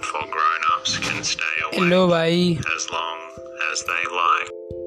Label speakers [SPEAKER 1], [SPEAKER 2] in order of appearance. [SPEAKER 1] for grown ups can stay awake
[SPEAKER 2] hello भाई
[SPEAKER 1] as long as they like.